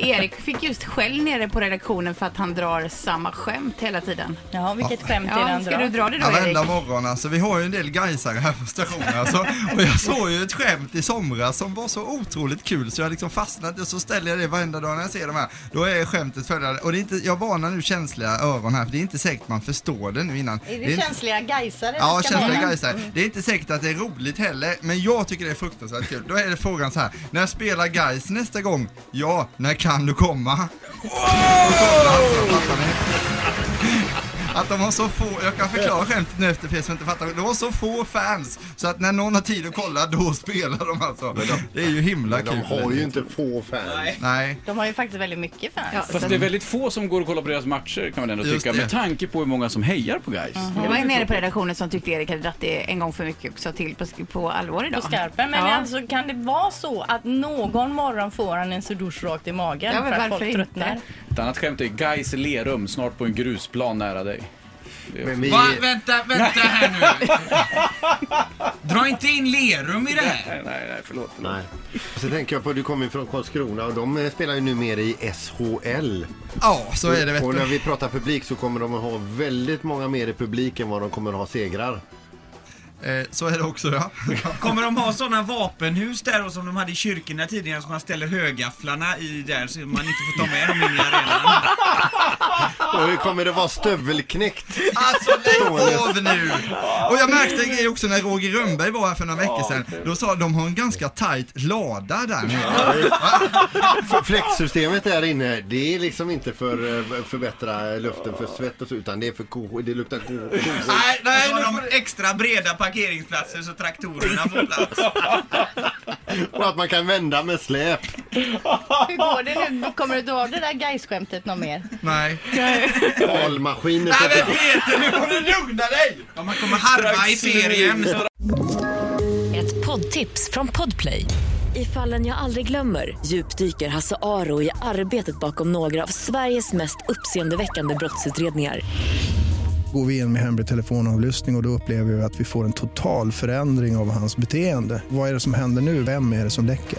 Erik fick just skäll nere på redaktionen för att han drar samma skämt hela tiden. Jaha, vilket skämt är det Ja, han ska du dra drar? det då Erik? Varenda morgon alltså, vi har ju en del gaisare här på stationen alltså. Och jag såg ju ett skämt i somras som var så otroligt kul så jag liksom fastnade och så ställer jag det varenda dag när jag ser de här. Då är skämtet följande, och det är inte, jag varnar nu känsliga öron här för det är inte säkert man förstår det nu innan. Är det, inte- känsliga gaisare? Ja, vi ska känsliga ha? gaisare. Det är inte säkert att det är roligt heller, men jag tycker det är fruktansvärt kul. Då är det frågan så här, när jag spelar guys nästa gång? Ja, när kan du komma? Fattar ni? Att de har så få, jag kan förklara skämtet nu efter för er som inte fattar, de har så få fans så att när någon har tid att kolla då spelar de alltså. Det är ju himla Men de kul. har ju inte få fans. Nej, De har ju faktiskt väldigt mycket fans. Ja, Fast så- det är väldigt få som går och kollar på deras matcher kan man ändå Just tycka, det. med tanke på hur många som hejar på guys. Det var en nere på redaktionen som tyckte Erik hade dratt det en gång för mycket och sa till på, på allvar idag. på skarpen. Men ja. alltså kan det vara så att någon morgon får han en sudosh rakt i magen Ja, men för att varför folk inte? tröttnar? Ett annat skämt är guys Lerum, snart på en grusplan nära dig. Men vi, Va, vänta, vänta här nu. Dra inte in Lerum i det här. Nej, nej, nej, förlåt. förlåt. nej. Och så tänker jag på, du kommer ju från Karlskrona och de eh, spelar ju numera i SHL. ja så är det vet och när du. vi pratar publik så kommer de att ha väldigt många mer i publiken än vad de kommer att ha segrar. Eh, Så är det också ja. Kommer de ha sådana vapenhus där och som de hade i kyrkorna tidigare som man ställer högafflarna i där så man inte får ta med dem in i arenan? Och hur kommer det vara stövelknäckt? Alltså lägg av nu! Och jag märkte en grej också när Roger Rönnberg var här för några veckor sedan. Då sa de har en ganska tight lada där nere. För fläktsystemet där inne, det är liksom inte för att förbättra luften för svett och så, utan det är för ko, det luktar ko, ko. Nej, Och nej, så nu har får de det... extra breda parkeringsplatser så traktorerna får plats. Och att man kan vända med släp. Hur går det nu? Kommer du dra det där gaisskämtet någon mer? Nej. Valmaskiner. Nej men Peter, nu får du lugna dig! Ja, man kommer harva i ferien. Ett poddtips från Podplay. I fallen jag aldrig glömmer djupdyker Hasse Aro i arbetet bakom några av Sveriges mest uppseendeväckande brottsutredningar. Går vi in med hemlig telefonavlyssning och, och då upplever vi att vi får en total förändring av hans beteende. Vad är det som händer nu? Vem är det som läcker?